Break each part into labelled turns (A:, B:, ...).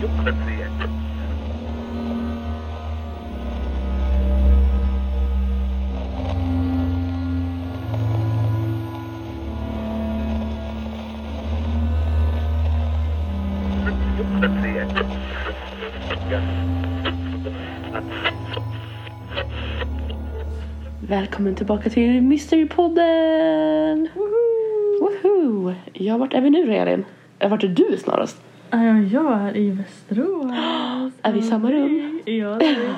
A: Joklatreet. Joklatreet.
B: Välkommen tillbaka till Mysterypodden! Woho! Ja, vart är vi nu då, Elin? Eh, Vart är du snarast?
C: Ja, jag är i Västerås.
B: Är vi i samma rum?
C: Ja, det är vi.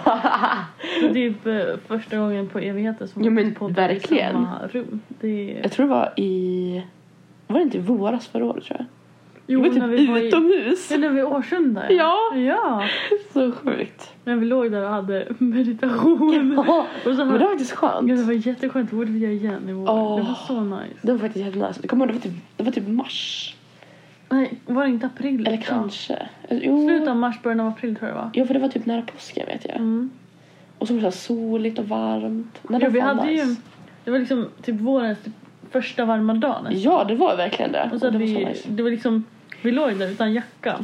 C: Det är typ eh, första gången på evigheter som
B: Jo, men
C: vi poddar
B: verkligen.
C: i samma rum. Det är...
B: Jag tror det var i... Var det inte i våras förra året tror jag?
C: Jo,
B: det var typ
C: när vi var i-
B: utomhus!
C: Ja, när vi var i Årsunda.
B: Ja.
C: Ja,
B: Så sjukt!
C: när vi låg där och hade meditation.
B: Ja,
C: Och så
B: men det var
C: här...
B: faktiskt
C: Ja, det
B: skönt.
C: var jätteskönt. Det borde vi göra igen i vår.
B: Åh.
C: Det var så nice.
B: Det var faktiskt jättenice. Jag kommer ihåg, det var typ, det var typ mars.
C: Nej, var det inte april?
B: Eller
C: då?
B: kanske. Alltså, Jo.
C: Slutet av mars, början av april tror jag det var.
B: Ja, för det var typ nära påsken vet jag.
C: Mm.
B: Och så var det så här soligt och varmt. Nej, det
C: Ja,
B: var
C: vi
B: fan
C: hade ju...
B: nice.
C: Det var liksom typ vårens typ, första varma dag nästan.
B: Ja, det var verkligen det.
C: Och så
B: det
C: hade
B: var så
C: vi,
B: nice.
C: det var liksom, vi låg där utan jacka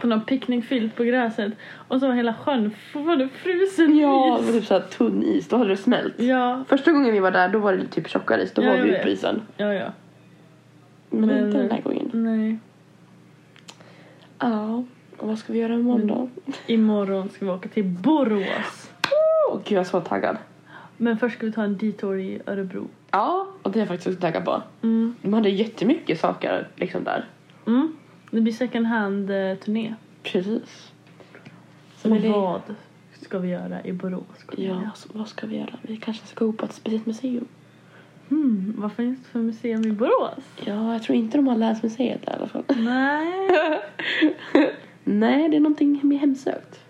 C: på någon picknickfilt på gräset och så var hela sjön fortfarande frusen
B: Ja, det var
C: is.
B: typ så här tunn is. Då hade det smält.
C: Ja,
B: Första gången vi var där då var det typ tjockare is. Då
C: Ja,
B: var
C: jag
B: vi
C: vet.
B: ute på isen.
C: ja, ja.
B: Men,
C: Men-
B: inte den här gången.
C: Nej.
B: Ja. Och vad ska vi göra imorgon då? Åh,
C: Imorgon ska vi åka till Borås.
B: gud jag är så taggad.
C: Men först ska vi ta en detour i Örebro.
B: Ja, och det är jag faktiskt också taggad på.
C: Mm.
B: De hade jättemycket saker liksom där.
C: Mm. Det blir second hand-turné.
B: Precis. Så
C: Och
B: men det-
C: vad ska vi göra i Borås?
B: Ja, så vad ska vi göra? Vi kanske ska gå på ett speciellt museum.
C: Mm. Vad finns det för museum i Borås?
B: Ja, jag tror inte de har länsmuseet där i alla fall.
C: Nej.
B: Nej, det är någonting mer hemsökt.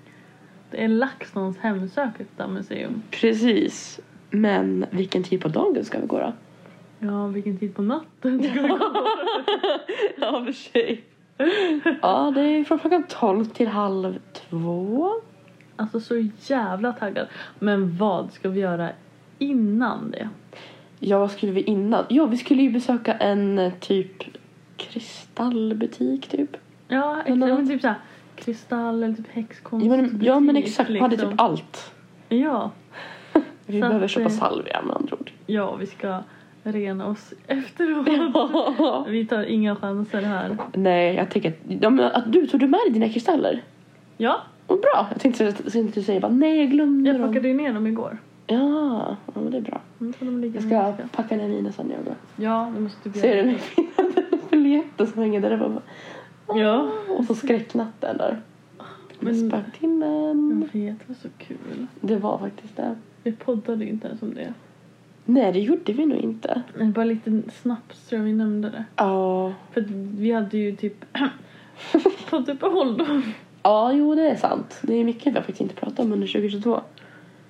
C: Det är LaxTons hemsökta museum.
B: Precis. Men vilken tid på dagen ska vi gå då?
C: Ja, vilken tid på natten ska vi gå?
B: Ja, för sig. Ja, det är från klockan 12 till halv två.
C: Alltså så jävla taggad. Men vad ska vi göra innan det?
B: Ja, vad skulle vi innan? Ja, vi skulle ju besöka en eh, typ kristallbutik typ.
C: Ja,
B: men-
C: exakt. Men typ såhär kristall eller typ häxkonst.
B: Ja men, ja, men
C: butik, liksom.
B: exakt, vi hade typ allt.
C: Ja,
B: Vi
C: Så att,
B: behöver köpa
C: eh,
B: salvia med andra ord.
C: ja, vi ska rena oss efteråt. Vi tar inga chanser här.
B: Nej, jag tänker att, ja, men att du tog du med dig dina kristaller.
C: Ja,
B: Vad bra! Jag tänkte att så inte du säger bara nej, jag glömde
C: jag
B: dem.
C: plockade ju ner dem igår.
B: Ja, ja, men det är bra.
C: Mm, så de ligger
B: Jag
C: i
B: ska
C: väskan.
B: packa ner mina sen när jag går.
C: Ja, det måste du
B: Ser du den fina biljetten som hänger där? uppe?
C: Ja,
B: Och så skräcknatten där.
C: Men-
B: Med Spöktimmen.
C: jag vet. Det var så kul.
B: Det var faktiskt det.
C: Vi poddade ju inte ens om det.
B: Nej, det gjorde vi nog inte.
C: Men Bara lite snabbt tror jag vi nämnde det.
B: Ja,
C: För att vi hade ju typ podduppehåll då.
B: ja jo det är sant. Det är mycket vi har faktiskt inte pratat om under 2022.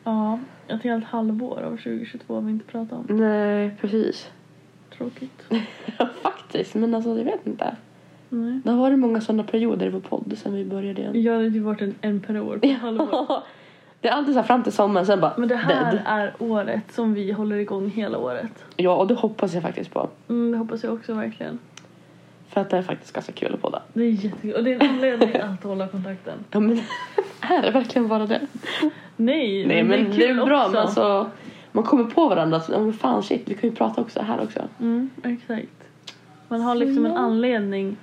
C: Ja, ett helt halvår av 2022 har vi inte pratat om.
B: Nej, precis.
C: Tråkigt.
B: faktiskt, men alltså jag vet inte.
C: Nej.
B: Det har varit många sådana perioder i vår podd sen vi började igen.
C: Jag hade ju varit en, en per år på ett halvår.
B: Det är alltid så här fram till sommaren, sen bara
C: Men det här
B: dead.
C: är året som vi håller igång hela året.
B: Ja, och det hoppas jag faktiskt på.
C: Mm, det hoppas jag också verkligen.
B: För att det är faktiskt ganska kul att podda.
C: Det är jättekul. Och det är en anledning att hålla kontakten.
B: Ja, men är det verkligen bara det?
C: Nej,
B: Nej, men det är,
C: kul
B: bra,
C: också.
B: men alltså man kommer på varandra. Så, ja, men fan shit, vi kan ju prata också här också.
C: Mm, exakt. Man har liksom en
B: Ja.
C: anledning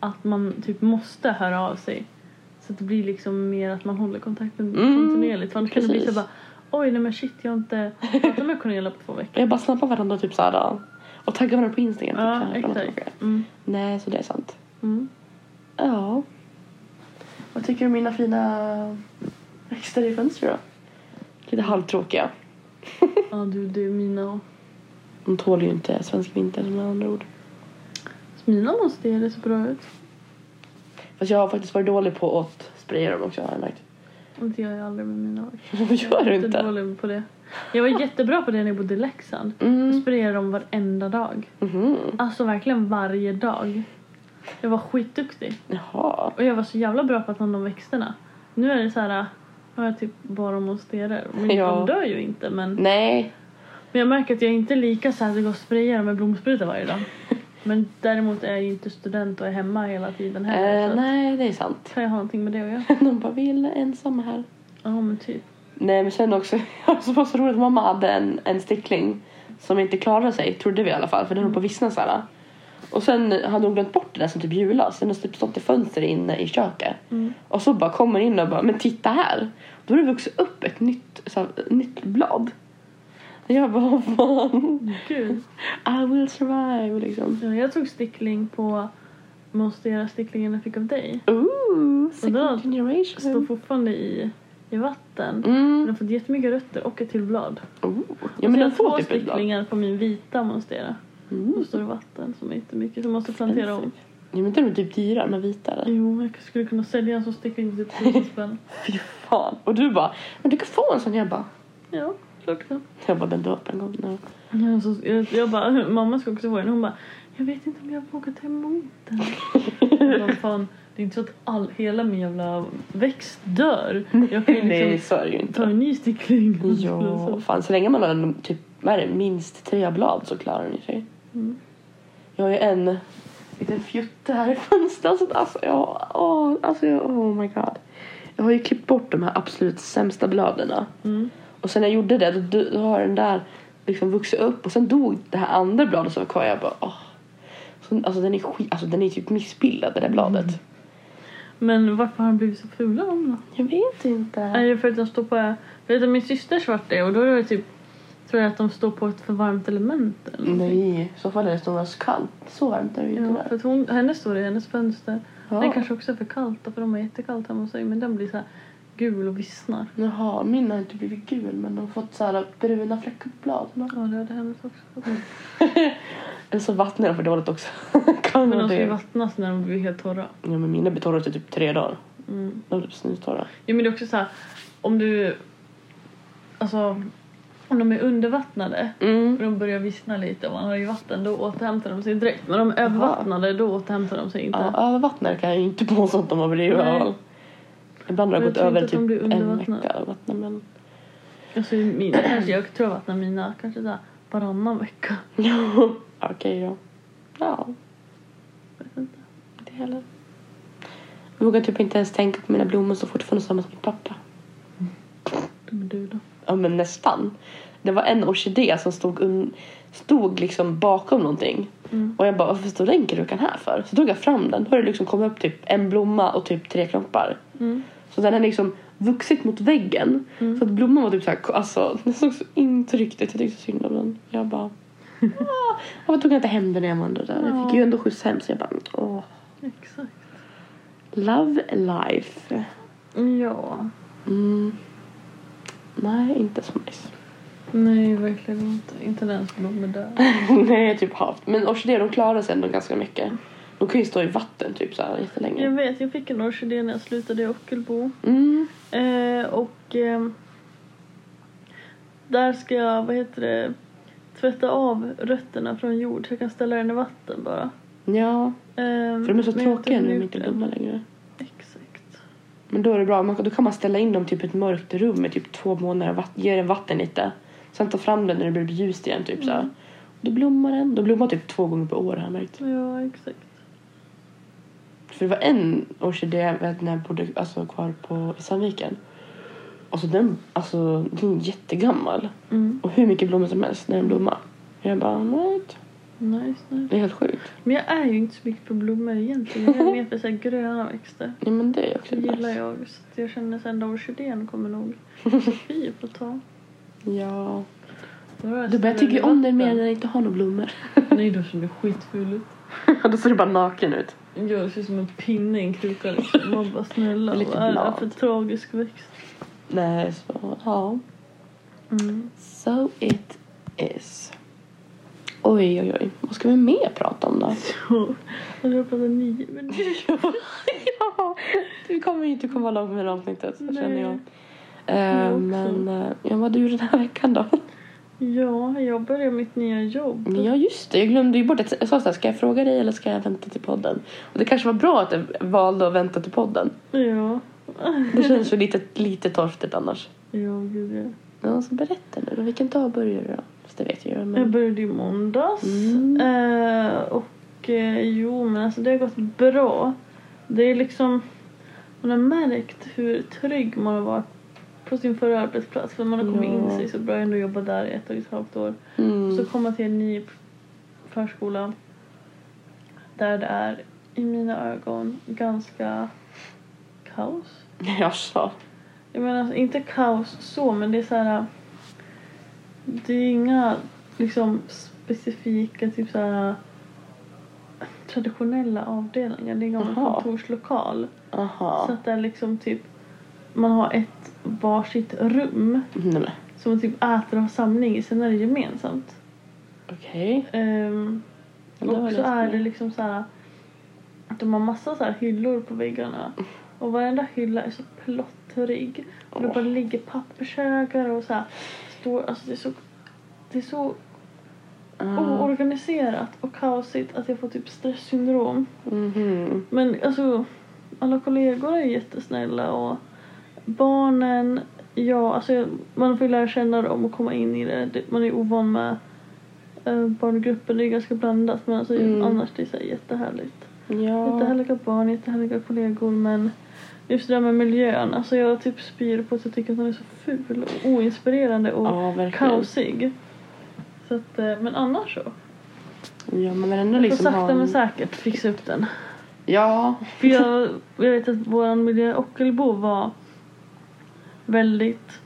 C: att man typ måste höra av sig. Så att det blir liksom mer att man håller kontakten
B: Mm,
C: kontinuerligt. För annars kan det bli så
B: precis.
C: bara Oj, nej men shit, jag har inte pratat med Cornelia på två veckor.
B: Jag bara snappar varandra typ så här ja, och taggar varandra på Instagram. Typ, så
C: Ja,
B: här, fram och tillbaka.
C: exakt. Mm.
B: Nej, så det är sant.
C: Mm.
B: Ja. Vad tycker du om mina fina växter i fönstret då? Lite halvtråkiga.
C: Ja, du, du, mina och...
B: De tål ju inte svensk vinter med andra ord.
C: Så Mina måste ge det så bra ut.
B: Fast jag har faktiskt varit dålig på att spraya dem också har jag märkt.
C: Och det gör jag aldrig med mina verkligen.
B: Vad gör du
C: Jag är
B: inte?
C: dålig på det. Jag var jättebra på det när jag bodde i Leksand. Jag
B: Mm.
C: sprayade dem varenda dag.
B: Mhm.
C: Alltså verkligen varje dag. Jag var skitduktig.
B: Jaha.
C: Och jag var så jävla bra på att ta hand om växterna. Nu är det så här, jag har typ bara monsterer. Men
B: Ja.
C: de dör ju inte. Men,
B: Nej,
C: men jag märker att jag inte är lika så här att jag går och sprayar med blomspruta varje dag. Men däremot är jag ju inte student och är hemma hela tiden heller.
B: Eh,
C: så att-
B: nej, det är sant.
C: Kan jag ha någonting med det att göra?
B: De bara, vi är ensamma här.
C: Ja men typ.
B: Nej men sen också, alltså, det var så roligt, mamma hade en, en stickling som inte klarade sig, trodde vi i alla fall, för den höll på att vissna så här. Och sen hade hon glömt bort det där som typ julas, den har typ stått i fönster inne i köket.
C: Mm.
B: Och så bara kommer in och bara, men titta här! Då har det vuxit upp ett nytt, så här, nytt blad. Och Jag bara, vad fan?
C: Gud.
B: I will survive liksom.
C: Ja, jag tog stickling på Måste göra sticklingen jag fick av dig.
B: Ooh,
C: Och
B: second
C: då Står
B: generation.
C: fortfarande i, i vatten. Den
B: Mm.
C: har fått jättemycket rötter och ett till blad.
B: Ooh. Ja men
C: jag
B: den
C: har två
B: får typ ett blad.
C: sticklingar på min vita monstera.
B: Mm.
C: Då står det vatten som är jättemycket som måste plantera om.
B: Ja men den är typ dyrare, men vitare.
C: Jo, men jag skulle kunna sälja en sån stickling för typ 1000 spänn.
B: Fy fan. Och du bara, men du kan få en sån. Jag bara,
C: Ja, klart det.
B: jag bara den döp en gång. No.
C: Ja, så- Jag, jag bara, mamma ska också få den. Hon bara, jag vet inte om jag vågar ta emot den. Jag bara, fan, det är inte så att all, hela min jävla växt dör. Jag kan ju
B: Nej,
C: liksom
B: så är det ju
C: ta
B: inte.
C: en ny stickling.
B: Ja, fan så länge man har en, typ, vad är det, minst tre blad så klarar ni sig.
C: Mm.
B: Jag har ju en liten fjutte här i fönstret. Alltså, jag, åh, alltså jag, oh my god. Jag har ju klippt bort de här absolut sämsta bladen.
C: Mm.
B: Och sen när jag gjorde det, då, då har den där liksom vuxit upp. Och sen dog det här andra bladet som var kvar. Jag bara, åh. Så, alltså den är skit, alltså den är typ missbildad det där bladet.
C: Mm. Men varför har de blivit så fula om då?
B: Jag vet inte.
C: Är det för att de står på... Jag vet att min syster svart är och då är det typ... Tror jag att de står på ett för varmt element eller någonting.
B: Nej, i så fall är det snarare så kallt. Så varmt är det ju inte
C: Ja, för
B: där.
C: att hon, hennes står i hennes fönster.
B: Ja.
C: Den kanske också är för kallt då, för de har jättekallt hemma hos sig. Men den blir så här gul och vissnar.
B: Jaha, min har inte blivit gul men de har fått så här bruna fläckar på bladen.
C: Ja, det hade hennes också.
B: Eller så vattnar de för dåligt också. kan
C: Men
B: vara
C: de ska ju
B: det.
C: vattnas när de blir helt torra.
B: Ja, men mina blir torra till typ tre dagar.
C: Mm.
B: De är typ snustorra.
C: Jo, men det är också så här, om du... Alltså, om de är undervattnade och
B: Mm.
C: de börjar vissna lite och man har i vatten, då återhämtar de sig direkt. Men om de är övervattnade, då återhämtar de sig inte.
B: Ja, övervattnade kan jag ju inte påstå att de har blivit i
C: Nej.
B: alla fall. Ibland har
C: Men
B: det
C: jag
B: gått
C: tror inte
B: över
C: att
B: typ
C: de blir
B: en
C: undervattnade.
B: vecka. att vattna, Men...
C: Alltså, i min, kanske, jag tror jag vattnar mina kanske så här, varannan vecka.
B: Ja, Okej då. Ja.
C: vet inte.
B: Det heller. Jag vågar typ inte ens tänka på mina blommor så fortfarande samma som min pappa.
C: Men du då?
B: Ja men nästan. Det var en orkidé som stod, un- stod liksom bakom någonting.
C: Mm.
B: Och jag bara, varför står den krukan här för? Så tog jag fram den. Då har det liksom kommit upp typ en blomma och typ tre knoppar.
C: Mm.
B: Så den har liksom vuxit mot väggen. Så att blomman var typ så här, alltså den såg så intryckt ut. Jag tyckte synd om den. Jag bara, "Ah." varför tog jag inte hem den när jag vandrade där? Jag fick ju ändå skjuts hem så jag bara, åh.
C: Exakt.
B: Love life.
C: Ja.
B: Mm. Nej, inte så nice.
C: Nej, verkligen inte. Inte ens blommor där.
B: Nej, typ haft. Men orkidéer de klarar sig ändå ganska mycket. De kan ju stå i vatten typ så här
C: Jag
B: jättelänge.
C: vet, jag fick en orkidé när jag slutade i Ockelbo.
B: Mm.
C: Eh, och ehm, där ska jag, vad heter det, tvätta av rötterna från jord så jag kan ställa den i vatten bara.
B: Ja,
C: Ehm,
B: för de är så
C: men jag har
B: tråkiga nu, de är
C: gjort
B: inte
C: det.
B: dumma längre.
C: Exakt.
B: Men då är det bra, man, då kan man ställa in dem typ i ett mörkt rum med typ två månader, vatt, ge den vatten lite. Sen ta fram den när det blir ljust igen typ så
C: Mm.
B: här. Då blommar den. De blommar typ två gånger per år har jag märkt.
C: Ja, exakt.
B: För det var en orkidé jag vet, när jag bodde alltså, kvar på, i Sandviken. Alltså den, alltså den är jättegammal.
C: Mm,
B: Och hur mycket blommor som helst när den blommar. Jag bara, what?
C: nice, nice.
B: Det är helt sjukt.
C: Men jag är ju inte så mycket på blommor egentligen. Jag är mer för så här gröna växter.
B: Nej men det är också
C: Det gillar
B: nice.
C: jag. Så att jag känner sen att orkidén kommer nog fy på ta.
B: Ja.
C: Då har jag
B: Du bara, jag
C: ställt
B: tycker
C: i
B: om den mer
C: vatten.
B: när den inte har några blommor.
C: Nej, då ser du skitful ut.
B: Då ser du bara naken ut.
C: Ja, det ser ut som en pinne i en kruka liksom. Man bara snälla,
B: Lite
C: vad är det här
B: blad.
C: för tragisk växt?
B: Nej, så ja.
C: Mm.
B: So it is. Oj, oj, oj. Vad ska vi mer prata om då?
C: Så, jag hoppas att ni... Men
B: ja, vi kommer ju inte komma långt med det här avsnittet, så känner
C: Nej.
B: jag.
C: Jag
B: Eh,
C: också.
B: men eh, ja, vad du den här veckan då?
C: ja, jag börjar mitt nya jobb.
B: Ja just det, jag glömde ju bort att jag sa såhär, ska jag fråga dig eller ska jag vänta till podden? Och det kanske var bra att jag valde att vänta till podden.
C: Ja.
B: Det känns ju lite, lite torftigt annars.
C: Ja, gud ja.
B: Ja, så berätta nu då, vilken dag börjar du då? Fast det vet jag ju.
C: Jag
B: Men...
C: började i måndags.
B: Mm.
C: Eh, och Och eh, jo, men alltså det har gått bra. Det är liksom... Man har märkt hur trygg man har varit på sin förra arbetsplats. För man har kommit
B: Ja.
C: in sig så bra. Jag har ändå jobbat där i ett och ett halvt år.
B: Mm.
C: Så komma till en ny förskola där det är i mina ögon ganska kaos.
B: Jaså?
C: Jag menar inte kaos så men det är så här. Det är inga liksom specifika typ så här traditionella avdelningar. Det är en gammal
B: Jaha.
C: kontorslokal. Så
B: Aha.
C: att det är liksom typ man har ett varsitt rum
B: Mm, Nej men
C: som man typ äter och har samling i. Sen är det gemensamt.
B: okej.
C: Ehm,
B: Det var
C: och så
B: lite
C: är det
B: mer.
C: liksom så här att de har massa så här hyllor på väggarna och varenda hylla är så plottrig och det
B: Åh.
C: bara ligger pappershögar och så här står, alltså det är så det är så
B: Ah.
C: oorganiserat och kaosigt att jag får typ stresssyndrom.
B: Mhm.
C: Men alltså alla kollegor är jättesnälla och barnen, ja alltså jag- man får ju lära känna dem och komma in i det. Det- Man är ovan med eh, barngruppen, det är ganska blandat men alltså
B: Mm.
C: annars det är så här jättehärligt.
B: Ja.
C: Jättehärliga barn, jättehärliga kollegor men just det där med miljön, alltså jag typ spyr på att jag tycker att den är så ful och oinspirerande och
B: Ja, verkligen.
C: kaosig. Så att, eh, men annars så.
B: Ja, man vill ändå
C: Jag får
B: liksom
C: sakta
B: ha en...
C: men säkert fixa upp den.
B: Ja.
C: För jag, jag vet att vår miljö Ockelbo var väldigt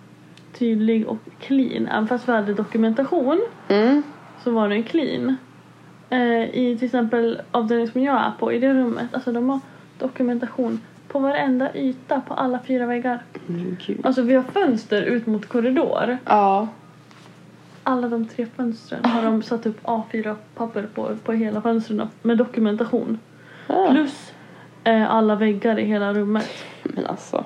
C: tydlig och clean. Även fast vi hade dokumentation
B: Mm.
C: så var den clean. Eh, I till exempel avdelningen som jag är på, i det rummet, alltså de har dokumentation på varenda yta på alla fyra väggar.
B: Men gud.
C: Alltså vi har fönster ut mot korridor.
B: Ja.
C: Alla de tre fönstren har de satt upp A4-papper på, på hela fönstren med dokumentation.
B: Ah.
C: Plus eh, alla väggar i hela rummet.
B: Men alltså.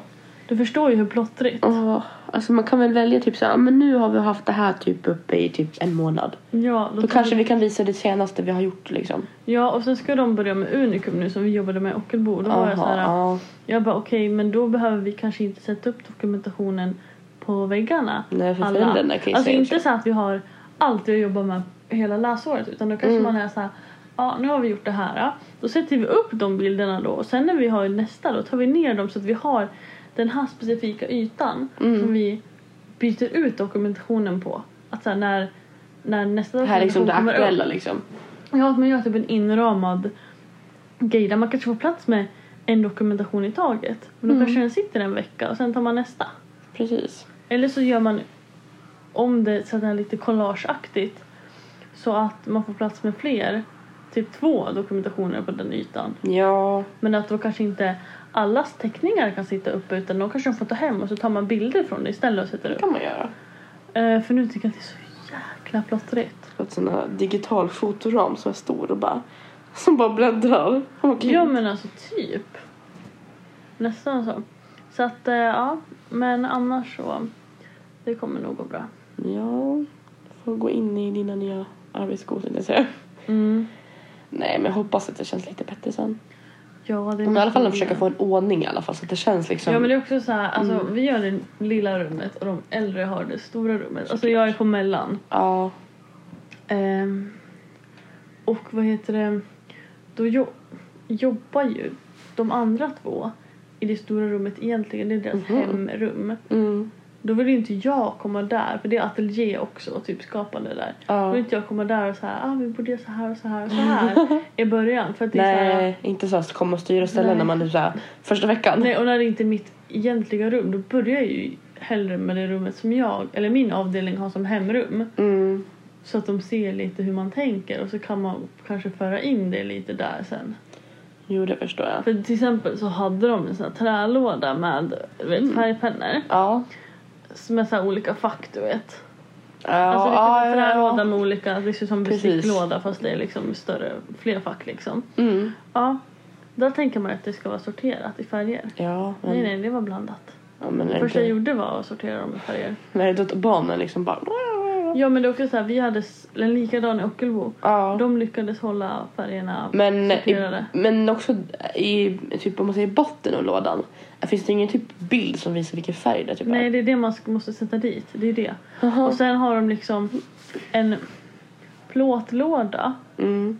C: Du förstår ju hur plottrigt.
B: Oh, alltså man kan väl välja typ så här, "Ah, men nu har vi haft det här typ uppe i typ en månad.
C: Ja, då
B: Då
C: tar
B: kanske
C: vi-
B: vi kan visa det senaste vi har gjort liksom.
C: ja, och sen ska de börja med Unicum nu som vi jobbade med i Ockelbo. Då var jag så
B: Aha,
C: här,
B: ja.
C: jag bara okej, men då behöver vi kanske inte sätta upp dokumentationen på väggarna.
B: Nej, för föräldrarna kan ju
C: Alltså
B: säga
C: inte
B: så.
C: så att vi har allt vi jobbar med hela läsåret utan då
B: Mm.
C: kanske man är så här, ja nu har vi gjort det här. ja. Då sätter vi upp de bilderna då och sen när vi har nästa då tar vi ner dem så att vi har den här specifika ytan
B: Mm.
C: som vi byter ut dokumentationen på. Att så här, när, när nästa
B: Det här är liksom det
C: kommer upp-
B: aktuella liksom.
C: Ja, att man gör typ en inramad grej där man kanske får plats med en dokumentation i taget. Men då kanske den sitter en vecka och sen tar man nästa.
B: Precis.
C: Eller så gör man om det så att det är lite collageaktigt så att man får plats med fler, typ två dokumentationer på den ytan.
B: Ja.
C: Men att då kanske inte allas teckningar kan sitta uppe utan de kanske de får ta hem och så tar man bilder från det istället och sätter
B: Det
C: upp.
B: kan man göra.
C: Eh, för nu tycker jag att det är så jäkla plottrigt.
B: Ett sån här digital fotoram som är stor och bara som bara bläddrar. Okej.
C: Ja men alltså typ. Nästan så. Så att eh, ja, men annars så. Det kommer nog gå bra.
B: ja. Får gå in i dina nya arbetsskor tänkte jag säga.
C: Mm.
B: Nej men jag hoppas att det känns lite bättre sen.
C: Ja, det är
B: Men i alla fall
C: mycket-
B: försöka få Mm. en ordning i alla fall så att det känns liksom.
C: Ja men det är också så här, alltså vi gör det lilla rummet och de äldre har det stora rummet. Alltså jag är på mellan.
B: Ja.
C: Ehm, och vad heter det, då jo- jobbar ju de andra två i det stora rummet egentligen, det är deras
B: Mhm.
C: hemrum.
B: Mm.
C: Då vill ju inte jag komma där, för det är ateljé också och typ skapande där. Då
B: Ja.
C: vill inte jag komma där och säga ah, vi borde göra så här och så här och så här i början. För att det är så här,
B: Nej, inte så att komma och styra och ställa
C: Nej.
B: när man är så här, första veckan.
C: nej, och när det inte är mitt egentliga rum då börjar jag ju hellre med det rummet som jag, eller min avdelning har som hemrum.
B: Mm.
C: Så att de ser lite hur man tänker och så kan man kanske föra in det lite där sen.
B: Jo, det förstår jag.
C: För till exempel så hade de en sån här trälåda med du
B: Mm.
C: vet, färgpennor.
B: Ja.
C: Med så här olika fack du vet.
B: Ja,
C: Alltså det
B: ja,
C: är typ en
B: ja,
C: trälåda
B: ja.
C: med olika, det ser ut som en
B: Precis.
C: besticklåda fast det är liksom större, fler fack liksom.
B: Mm.
C: Ja, där tänker man att det ska vara sorterat i färger.
B: Ja, men,
C: Nej, nej, det var blandat.
B: Ja, men är
C: Det
B: det
C: första
B: Mm. inte,
C: jag gjorde var att sortera dem i färger.
B: Nej, det är att barnen liksom bara...
C: Ja, men det är också så här, vi hade s- en likadan i Ockelbo.
B: Ja.
C: De lyckades hålla färgerna
B: Men, eh, i,
C: sorterade.
B: men också i typ om man säger botten av lådan. Finns det ingen typ bild som visar vilken färg det typ
C: Nej,
B: är?
C: det är det man sk- måste sätta dit. Det är det.
B: Aha.
C: Och sen har de liksom en plåtlåda
B: Mm.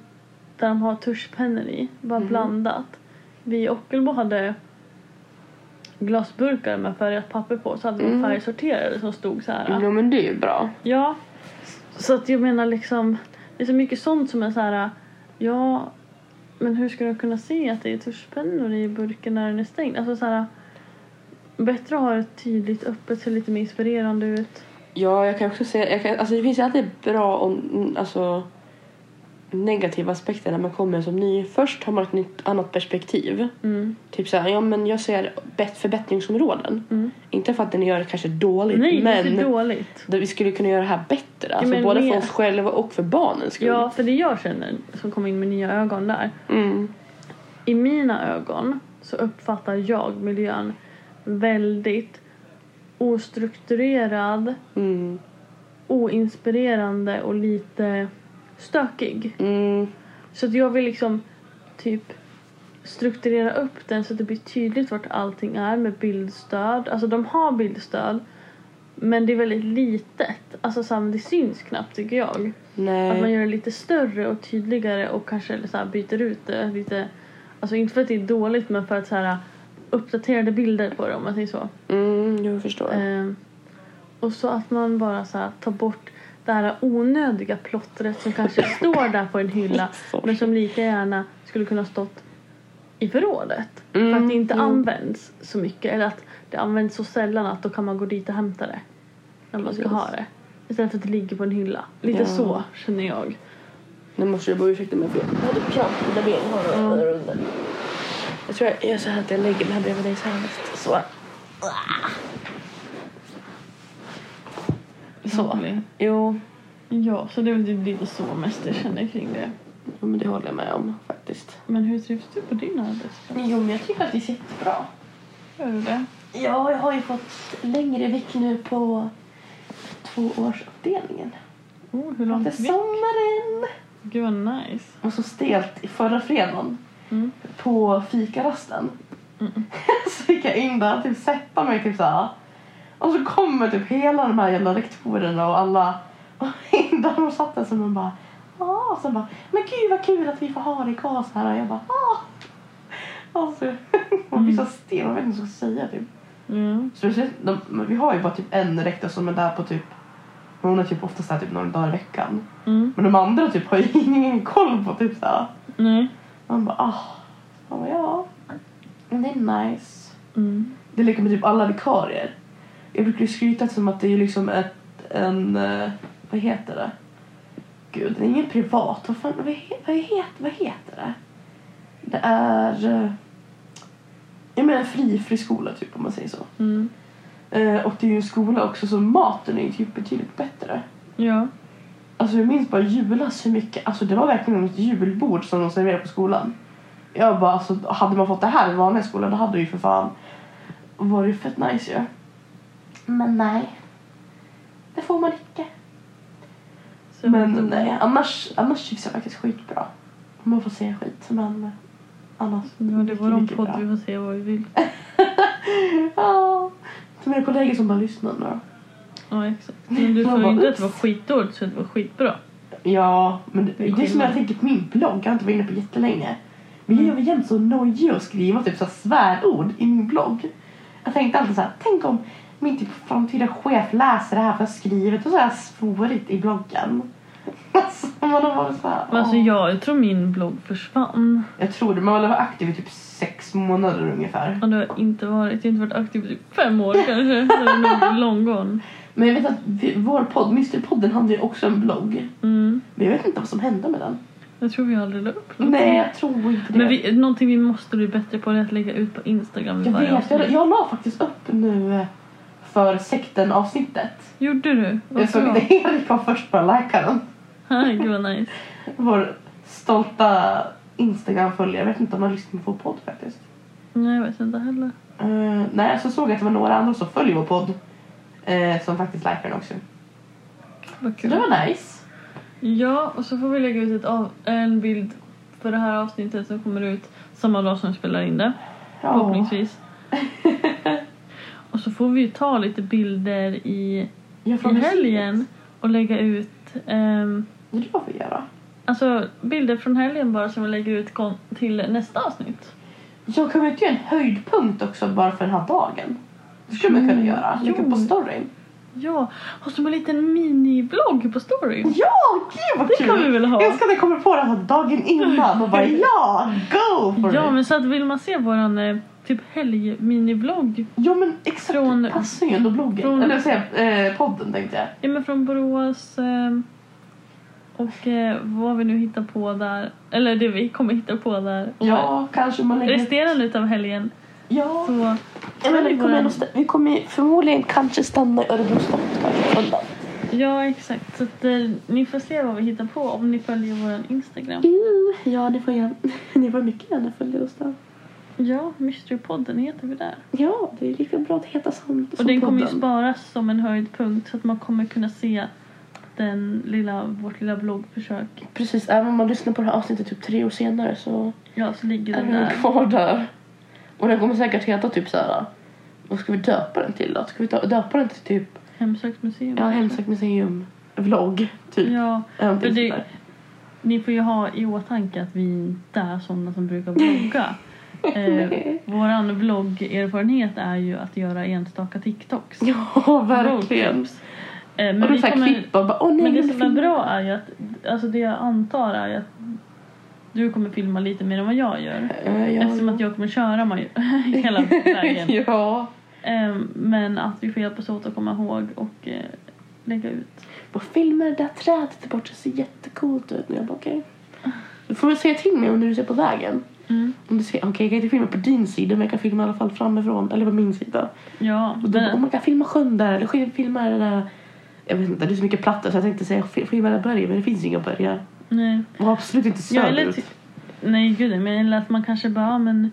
C: där de har tuschpennor i, bara
B: Mhm.
C: blandat. Vi i Ockelbo hade glasburkar med färgat papper på så hade vi
D: Mm.
C: färgsorterade som stod så här.
D: Jo men det är ju bra.
C: Ja, så att jag menar liksom, det är så mycket sånt som är så här, ja, men hur ska de kunna se att det är tuschpennor i burken när den är stängd? Alltså så här, bättre att ha det tydligt öppet, ser lite mer inspirerande ut.
D: Ja, jag kan också säga... Jag kan, alltså det finns ju alltid bra och mm, alltså, negativa aspekter när man kommer som ny. Först har man ett nytt, annat perspektiv.
C: Mm.
D: Typ så här, ja men jag ser bet- förbättringsområden.
C: Mm.
D: Inte för att det ni gör är kanske dåligt,
C: Nej,
D: men
C: det är inte dåligt.
D: det- vi skulle kunna göra det här bättre. Alltså
C: men
D: både
C: mer-
D: för oss själva och för barnens skull.
C: Ja, för det jag känner som kom in med nya ögon där,
D: Mm.
C: i mina ögon så uppfattar jag miljön väldigt ostrukturerad,
D: Mm.
C: oinspirerande och lite stökig.
D: Mm.
C: Så att jag vill liksom typ strukturera upp den så att det blir tydligt vart allting är med bildstöd. Alltså de har bildstöd men det är väldigt litet. Alltså så här, men det syns knappt tycker jag. Att man
D: Nej.
C: gör det lite större och tydligare och kanske så här byter ut det lite. Alltså inte för att det är dåligt men för att så här uppdaterade bilder på det om man säger så.
D: Mm, jag förstår.
C: Ehm, och så att man bara så här, tar bort det här onödiga plottret som kanske står där på en hylla men som lika gärna skulle kunna ha stått i förrådet. för att det inte används så mycket eller att det används så sällan att då kan man gå dit och hämta det när man ska
D: Precis.
C: ha det. Istället för att det ligger på en hylla. Lite
D: Ja.
C: så känner jag.
D: Nu måste jag bara ursäkta mig för jag hade kramp i mina ben. Har du- har du under? Jag tror jag gör så här att jag lägger mig här bredvid dig så här. mest. Så. Så. Jo,
C: Ja, så det är väl typ lite så mest jag känner kring det.
D: ja, men det håller jag med om faktiskt.
C: Men hur trivs du på din arbetsplats?
D: Jo, men jag tycker att det är jättebra.
C: Gör du det?
D: Ja, jag har ju fått längre vick nu på tvåårsavdelningen.
C: Oh, hur
D: Efter
C: långt vi...
D: sommaren!
C: Gud vad nice.
D: Och så stelt i förra fredagen
C: Mm.
D: på fikarasten. så gick jag in där och typ sätta mig typ såhär. Och så kommer typ hela de här jävla rektorerna och alla och in där och satt där så man bara ah, och så bara men gud vad kul att vi får ha dig kvar så här och jag bara ah. Alltså, man blir så stel, man vet inte vad jag ska säga typ.
C: Mm.
D: Speciellt, de, men vi har ju bara typ en rektor som är där på typ hon är typ oftast där typ några dagar i veckan.
C: Mm.
D: Men de andra typ har ju ingen koll på typ såhär.
C: Nej.
D: Man bara ah. Man bara, ja. Men det är nice.
C: Mm.
D: Det är lika med typ alla vikarier. Jag brukar ju skryta som att det är liksom ett, en, eh, vad heter det? Gud, det är ingen privat, vad fan, vad, he, vad, heter, vad heter det? Det är, eh, jag menar en fri friskola typ om man säger så.
C: Mm.
D: Eh, och det är ju en skola också så maten är ju typ betydligt bättre.
C: Ja.
D: Alltså jag minns bara julas hur mycket, alltså det var verkligen något julbord som de serverade på skolan. Jag bara alltså hade man fått det här i vanliga skolan då hade det ju för fan varit fett nice ju. Men nej. Det får man inte.
C: Så jag
D: Men
C: vet inte.
D: nej, annars, annars trivs jag faktiskt skitbra. Man får säga skit men annars.
C: Ja, det är våran
D: mycket
C: podd.
D: bra.
C: Vi får se vad vi vill.
D: Ja. Till mina kollegor som bara lyssnar nu då.
C: Ja, exakt. Men du sa
D: Man
C: ju
D: bara,
C: inte att det var
D: "Ups."
C: skitdåligt, så att det var skitbra.
D: Ja, men det,
C: Det är
D: det är som
C: skillnad.
D: jag tänker på min blogg. Jag har inte varit inne på jättelänge. Men jag var jämt så nojig att skriva typ så här svärord i min blogg. Jag tänkte alltid så här, tänk om min typ framtida chef läser det här för jag har skrivit och så här svårigt i bloggen. Alltså man har varit så här,
C: Men alltså
D: åh.
C: jag, jag tror min blogg försvann.
D: jag tror det, man har varit aktiv i typ sex månader ungefär.
C: Och det har jag inte varit. Jag har inte varit aktiv i typ fem år kanske. Så det är nog long gone.
D: Men jag vet att vi, vår podd, Mysterpodden, hade ju också en blogg.
C: Mm.
D: Men jag vet inte vad som hände med den.
C: Jag tror vi aldrig la upp något.
D: Nej, jag tror inte det.
C: Men vi, någonting vi måste bli bättre på är att lägga ut på Instagram. vid
D: Jag
C: varje
D: vet, jag,
C: avsnitt.
D: jag la faktiskt upp nu eh, för sekten-avsnittet.
C: Gjorde du? Vad
D: Jag såg
C: bra.
D: att Erik var först på att likea den.
C: Ha, Gud vad nice.
D: Vår stolta Instagram-följare. Jag vet inte om han lyssnar på vår podd faktiskt.
C: Nej, jag vet inte heller.
D: Eh, nej, så såg jag att det var några andra som följer vår podd eh, som faktiskt likar den också.
C: Vad
D: Så
C: kul.
D: det var nice.
C: Ja, och så får vi lägga ut ett av, en bild för det här avsnittet som kommer ut samma dag som vi spelar in det.
D: Ja.
C: Förhoppningsvis. och så får vi ju ta lite bilder i,
D: Jag
C: i
D: frågar
C: helgen och lägga ut ehm,
D: Det är det jag får göra.
C: alltså, bilder från helgen bara som vi lägger ut kon- till nästa avsnitt.
B: Jag kan man inte göra en höjdpunkt också bara för den här dagen? Det skulle man kunna göra. Lägga
C: jo.
B: på storyn.
C: Ja, och som en liten miniblogg på storyn.
B: Ja, gud vad
C: Det
B: kul!
C: kan vi väl ha?
B: Jag ska komma på det här dagen innan och bara ja, go for
C: Ja,
B: it!
C: men så att vill man se våran eh, typ helgminiblogg
B: ja men exakt,
C: Från-
B: passar ju ändå bloggen.
C: från-
B: Eller säga, eh, podden tänkte jag.
C: ja, men från Borås eh, och eh, vad vi nu hittar på där, eller det vi kommer hitta på där. Och
B: Ja, kanske man lägger...
C: Resterande utav helgen
B: Ja.
C: så
B: Ja, men vi,
C: Eller
B: kommer
C: våran-
B: ändå stä- vi kommer förmodligen kanske stanna i Örebro stad kanske. undan.
C: ja exakt. Så att, eh, ni får se vad vi hittar på om ni följer våran Instagram.
B: Mm, Ja, ni får, gärna, ni får mycket gärna följa oss där.
C: Ja, Mysterypodden heter vi där.
B: Ja, det är lika bra att heta som,
C: Och
B: som
C: den kommer ju
B: podden.
C: sparas som en höjdpunkt så att man kommer kunna se den lilla, vårt lilla bloggförsök.
B: Precis, även om man lyssnar på det här avsnittet typ tre år senare så
C: Ja, så ligger
B: är
C: den
B: den
C: där.
B: kvar där. Och den kommer säkert heta typ så här. Vad ska vi döpa den till då? Ska vi dö- döpa den till typ
C: Hemsökt museum.
B: ja, Hemsökt museum vlogg typ?
C: Ja,
B: Eller någonting
C: för det-
B: sånt där.
C: ni får ju ha i åtanke att vi inte är sådana som brukar blogga. eh, våran vloggerfarenhet är ju att göra enstaka TikToks.
B: Ja, verkligen.
C: Roadtrips. Eh, men
B: och
C: vi
B: då så här
C: kommer,
B: klippa och bara åh nej,
C: men det
B: glömde
C: som är
B: filma."
C: bra är ju att, alltså det jag antar är ju att du kommer filma lite mer än vad jag gör.
B: Eh, ja,
C: Eftersom att jag kommer köra mig hela vägen.
B: Ja.
C: Eh, men att vi får hjälpas åt att komma ihåg och eh, lägga ut.
B: Bara filma det där trädet där borta, det ser jättecoolt ut. Och jag bara okej. Du får väl säga till mig om du ser på vägen. Om du ser, okej jag kan inte filma på din sida men jag kan filma i alla fall framifrån. Eller på min sida.
C: Ja,
B: Och då,
C: men-
B: om man kan filma sjön där eller sk- filma det där. Jag vet inte, det är så mycket plattor så jag tänkte säga fi- filma där berget men det finns inga berg.
C: nej.
B: Och absolut inte
C: Ja, eller
B: söderut.
C: ty- nej, gud nej, men eller att man kanske bara, ja, men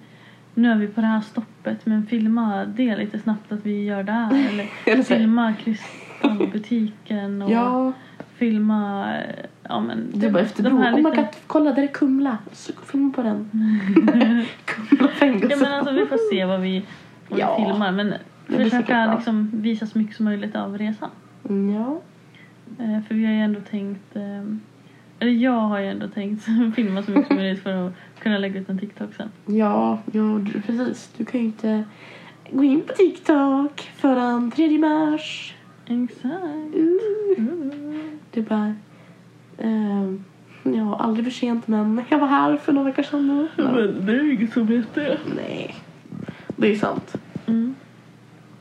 C: nu är vi på det här stoppet men filma det lite snabbt att vi gör det här. Eller
B: Eller så här-
C: filma kristallbutiken och
B: Ja,
C: filma, eh, ja men.
B: det är bara efter Oh
C: de
B: bron.
C: här
B: Om man
C: lite-
B: kan kolla, där är Kumla. Så filma på den. Kumla
C: Ja
B: fängelse.
C: men alltså vi får se vad vi, vad
B: Ja.
C: vi filmar men
B: blir säkert
C: försöka
B: bra.
C: liksom visa så mycket som möjligt av resan.
B: Mm, Ja.
C: Eh, för vi har ju ändå tänkt, eh, eller jag har ju ändå tänkt filma så mycket som möjligt för att kunna lägga ut en TikTok sen.
B: Ja, ja du, precis. Du kan ju inte gå in på TikTok förrän 3 mars.
C: Exakt.
B: Uh,
C: Mm.
B: det är bara... ehm, ja, aldrig för sent men jag var här för några veckor sedan nu. Ja,
C: Men det är ju inget som vet det.
B: nej, det är sant.
C: Mm.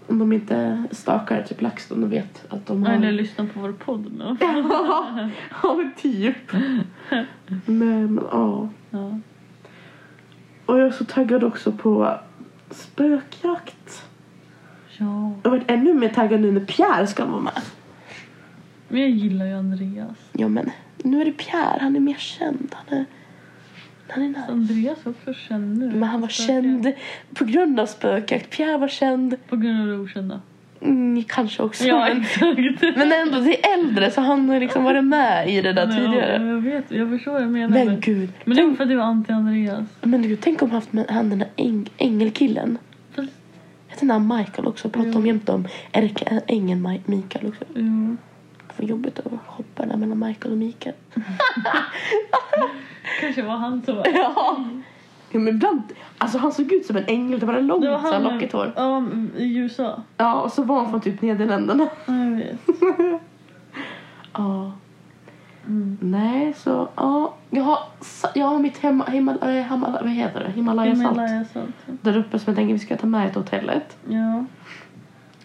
B: Om de inte stakar typ LaxTon och vet att de har...
C: Eller lyssna på vår podd nu.
B: ja, men typ. Men ja.
C: Ja.
B: Och jag är så taggad också på spökjakt.
C: ja.
B: Jag har varit ännu mer taggad nu när Pierre ska vara med.
C: Men jag gillar ju Andreas.
B: Ja men nu är det Pierre, han är mer känd. Han är, han är
C: Så
B: nice.
C: Andreas var också känd nu.
B: Men han var känd på grund av spökjakt. Pierre var känd,
C: På grund av det okända.
B: mm, kanske också.
C: Ja
B: men,
C: exakt.
B: men ändå, det är äldre så han har liksom varit med i det där
C: Ja,
B: tidigare.
C: jag vet, jag förstår vad du menar.
B: Men gud,
C: men det var för att du var anti-Andreas.
B: men gud, tänk om han haft med han den där äng, ängelkillen.
C: Fast-
B: Hette han Michael också? Pratade om
C: Jo.
B: jämt om Erika, ängeln Mi- Mikael också.
C: Jo.
B: Vad jobbigt att hoppa där mellan Michael och Mikael.
C: Kanske var han som var...
B: Ja. ja men ibland, alltså han såg ut som en ängel, det var en långt
C: Det var
B: så här
C: han
B: lockigt hår.
C: Ja, mm, i USA.
B: Ja, och så var han från typ Nederländerna.
C: Ja, jag vet.
B: Ja.
C: Mm.
B: Nej, så ja. Jag har, sa- jag har mitt hemma, himal, eh, hamal, vad heter det? Himalaya-salt.
C: Himalaya-salt.
B: Där uppe som jag tänker vi ska ta med till hotellet.
C: Ja.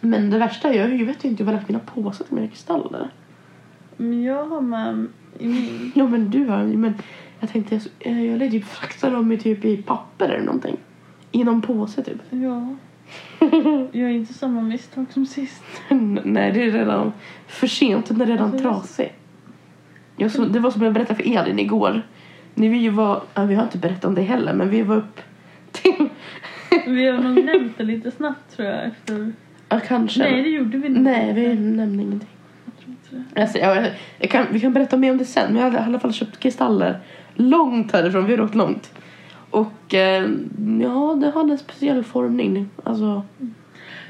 B: Men det värsta är ju, jag vet ju inte var jag har lagt mina påsar till mina kristaller.
C: Men jag har med i min.
B: Ja men du har ju, men jag tänkte eh, jag lär typ frakta dem i typ i papper eller någonting. I någon påse typ.
C: Ja. Jag är inte samma misstag som sist.
B: N- Nej, det är redan för sent. Den är redan
C: Alltså, jag-
B: trasig. Jag så, det var som jag berättade för Elin igår. När vi var, ja, vi har inte berättat om det heller, men vi var upp till...
C: Vi har nog nämnt det lite snabbt tror jag efter...
B: ja, kanske.
C: Nej, det gjorde vi inte.
B: Nej, vi nämnde ingenting.
C: Jag tror inte det.
B: Alltså, jag, jag kan, vi kan berätta mer om det sen, men jag har i alla fall köpt kristaller långt härifrån. Vi har åkt långt. Och eh, ja, det hade en speciell formning. Alltså,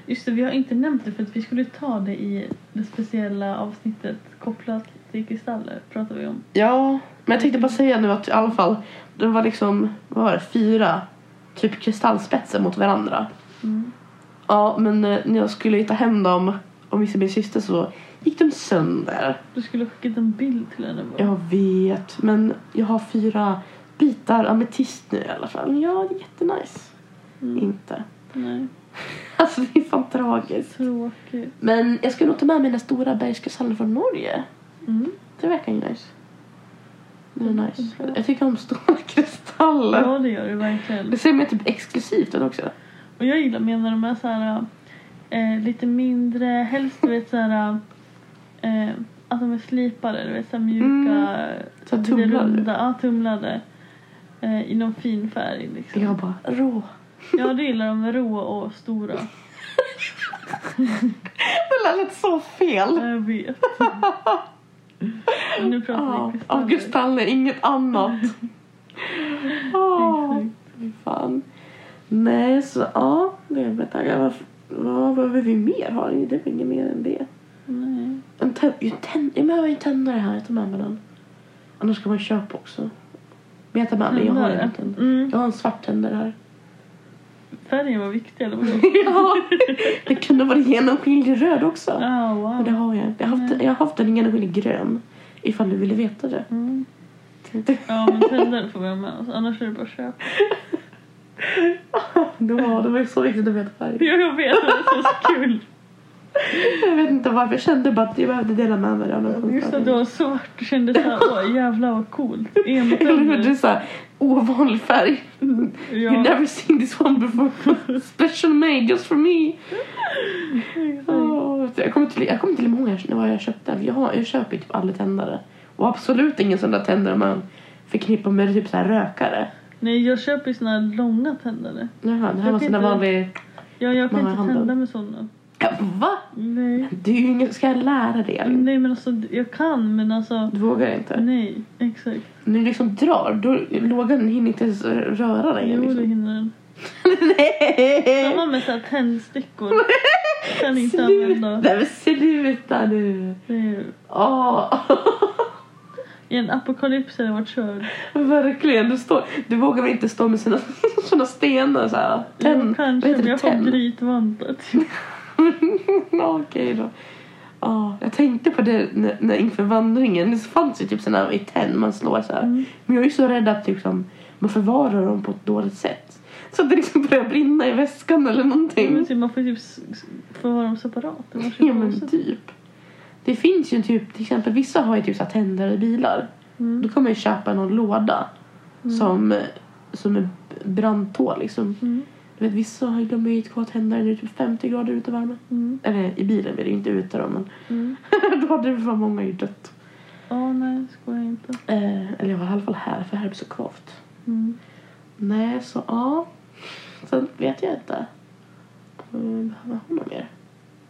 C: Just det, vi har inte nämnt det för att vi skulle ta det i det speciella avsnittet kopplat till kristaller. Pratar vi om.
B: ja, Men jag tänkte bara säga nu att i alla fall, det var liksom, vad var det, fyra typ kristallspetsar mot varandra. Ja, men eh, när jag skulle hitta hem dem och missa min syster så gick de sönder.
C: Du skulle ha skickat en bild till henne. bara.
B: Jag vet, men jag har fyra bitar ametist nu i alla fall. Ja, det är jättenice.
C: Mm.
B: Inte.
C: Nej,
B: Alltså det är fan tragiskt.
C: tråkigt.
B: Men jag ska nog ta med mina stora bergskastaller från Norge.
C: Mm.
B: Det verkar ju nice. Det är nice. Jag tycker om stora kristaller.
C: Ja, det gör det verkligen.
B: Det ser mer typ exklusivt ut också.
C: Och jag gillar mer när de är så här eh, lite mindre, helst du vet så här eh, att de är slipade, du vet så här mjuka,
B: Mm. Så här
C: lite
B: tumlade.
C: runda, ja, tumlade eh, i någon fin färg liksom.
B: Jag bara rå.
C: Ja, det gillar de rå och stora.
B: Det lät så fel.
C: Jag vet. Nu pratar
B: Ja,
C: vi
B: ah,
C: kristaller.
B: kristaller, inget annat. Ah,
C: Exakt.
B: fy fan. Nej, så ja, det är jag taggad. Vad, vad behöver vi mer? Har ni? Det är väl inget mer än det.
C: Nej.
B: En tänd, ju tänd, jag behöver ju en tändare här, jag tar med mig den. Annars kan man köpa också. Men jag tar med mig, jag har en tändare.
C: Mm.
B: Jag har en svart tändare här.
C: Färgen var viktig eller vadå?
B: ja, det kunde vara genomskinlig röd också.
C: Ah,
B: Men det
C: wow.
B: har jag. Jag har haft,
C: Nej.
B: jag har haft en genomskinlig grön. Ifall du ville veta det.
C: Mm. Ja men tändaren får vi ha med oss, annars är det bara att köpa.
B: det, var, det var ju så viktigt att veta färg.
C: Ja, Jag vet, det är så kul.
B: Jag vet inte varför. Jag kände bara att jag behövde dela med mig av den
C: Just att det var svart och kände såhär, åh jävlar vad coolt.
B: Eller hur? Det är
C: Emotänder.
B: såhär ovanlig färg. You
C: Ja,
B: never seen this one before. Special made just for me.
C: exakt.
B: Åh, jag kommer inte jag kommer inte ihåg när- vad jag köpte. den. Jag, har, jag köper ju typ aldrig tändare. Och absolut ingen sån där tändare man förknippar med typ så här rökare.
C: Nej jag köper ju såna här långa tändare.
B: Jaha, det här
C: Jag
B: var sån där
C: tänkte-
B: vanlig...
C: Ja, jag kan
B: Vad har
C: inte
B: han då?
C: tända med såna.
B: Ja, va?
C: Nej.
B: Du är ju ingen... Ska jag lära dig? Elin?
C: Nej men alltså jag kan men alltså.
B: Mm. Du vågar inte.
C: Nej, exakt.
B: När du liksom drar, då lågan hinner inte ens röra dig.
C: Jo det
B: Liksom.
C: hinner den. Samma
B: Nej!
C: med såhär tändstickor. Kan inte
B: Sluta.
C: använda.
B: Nej men sluta nu!
C: Det är-
B: Åh,
C: I en apokalyps hade jag varit körd.
B: verkligen. Du, står, du vågar väl inte stå med sina, såna stenar såhär?
C: Jo,
B: vad
C: kanske,
B: heter
C: men
B: det?
C: jag får
B: Tenn?
C: grytvantar.
B: Ja, Okej då. Ja, jag tänkte på det när, när inför vandringen. Det fanns ju typ såna i tenn man slår så här.
C: Mm.
B: Men jag är ju så rädd att liksom, man förvarar dem på ett dåligt sätt. Så att det liksom börjar brinna i väskan eller någonting.
C: Men Man får ju typ s- s- förvara dem separat. Det var så
B: Ja men
C: konstigt.
B: typ. Det finns ju typ, till exempel vissa har ju typ så här tändare i bilar.
C: Mm.
B: Då kan man ju köpa någon låda som, som är brandtål liksom.
C: Mm.
B: Du vet vissa har ju glömt hit kvar tändare när det är typ 50 grader ute i värmen.
C: Mm.
B: Eller i bilen blir det ju inte ute då men.
C: Mm.
B: då hade det för många ju dött.
C: Ja, nej, skojar inte.
B: Eh, eller ja, i alla fall här, för här är det så kvavt.
C: Mm.
B: Nej, så ja. Sen vet jag inte. Mm, Behöver ha något mer?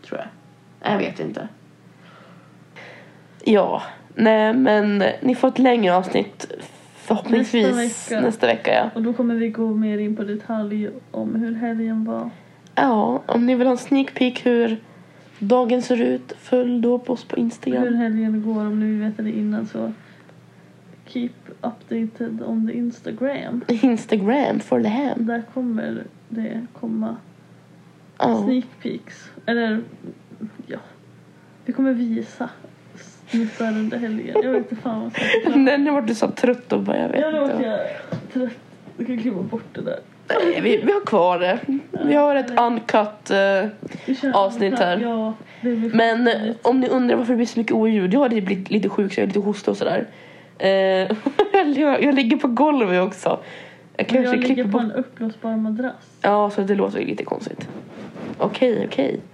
B: Tror jag. Nej, Jag vet inte. Ja, nej men ni får ett längre avsnitt förhoppningsvis
C: Nästa vecka.
B: nästa vecka ja.
C: Och då kommer vi gå mer in på detalj om hur helgen var.
B: ja, om ni vill ha en sneak peek hur dagen ser ut, följ då på oss på
C: Hur
B: Instagram.
C: helgen går, om ni vill veta det innan så keep updated on the Instagram.
B: Instagram for the hand.
C: Där kommer det komma
B: Ja.
C: sneak peeks. Eller ja, vi kommer visa snuttar under helgen. Jag vet inte fan vad jag ska
B: Nej, nu vart du så trött och bara jag vet
C: Jag
B: inte.
C: låter jag trött. Du kan klippa bort det där.
B: Nej, vi, vi har kvar det. Vi har ett uncut. eh,
C: Vi kör
B: Avsnitt
C: andra-
B: här.
C: Ja, det blir
B: Men eh,
C: fint.
B: om ni undrar varför det blir så mycket oljud. Jag hade blivit lite sjuk så jag har lite hosta och sådär. Eh, jag, jag ligger på golvet också. Jag kanske
C: jag ligger
B: klipper
C: på
B: bort.
C: en uppblåsbar madrass.
B: Ja, så det låter ju lite konstigt. Okej, okej.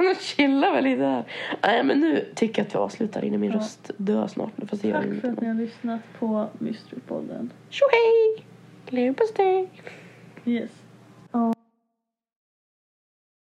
B: Nu chillar vi lite här. Nej, men nu tycker jag att vi avslutar innan min
C: Ja.
B: röst dör snart. nu, Fast det gör
C: Tack för
B: ingenting.
C: att ni har lyssnat på Mysterypodden.
B: Tjohej! Leverpastej!
C: Yes.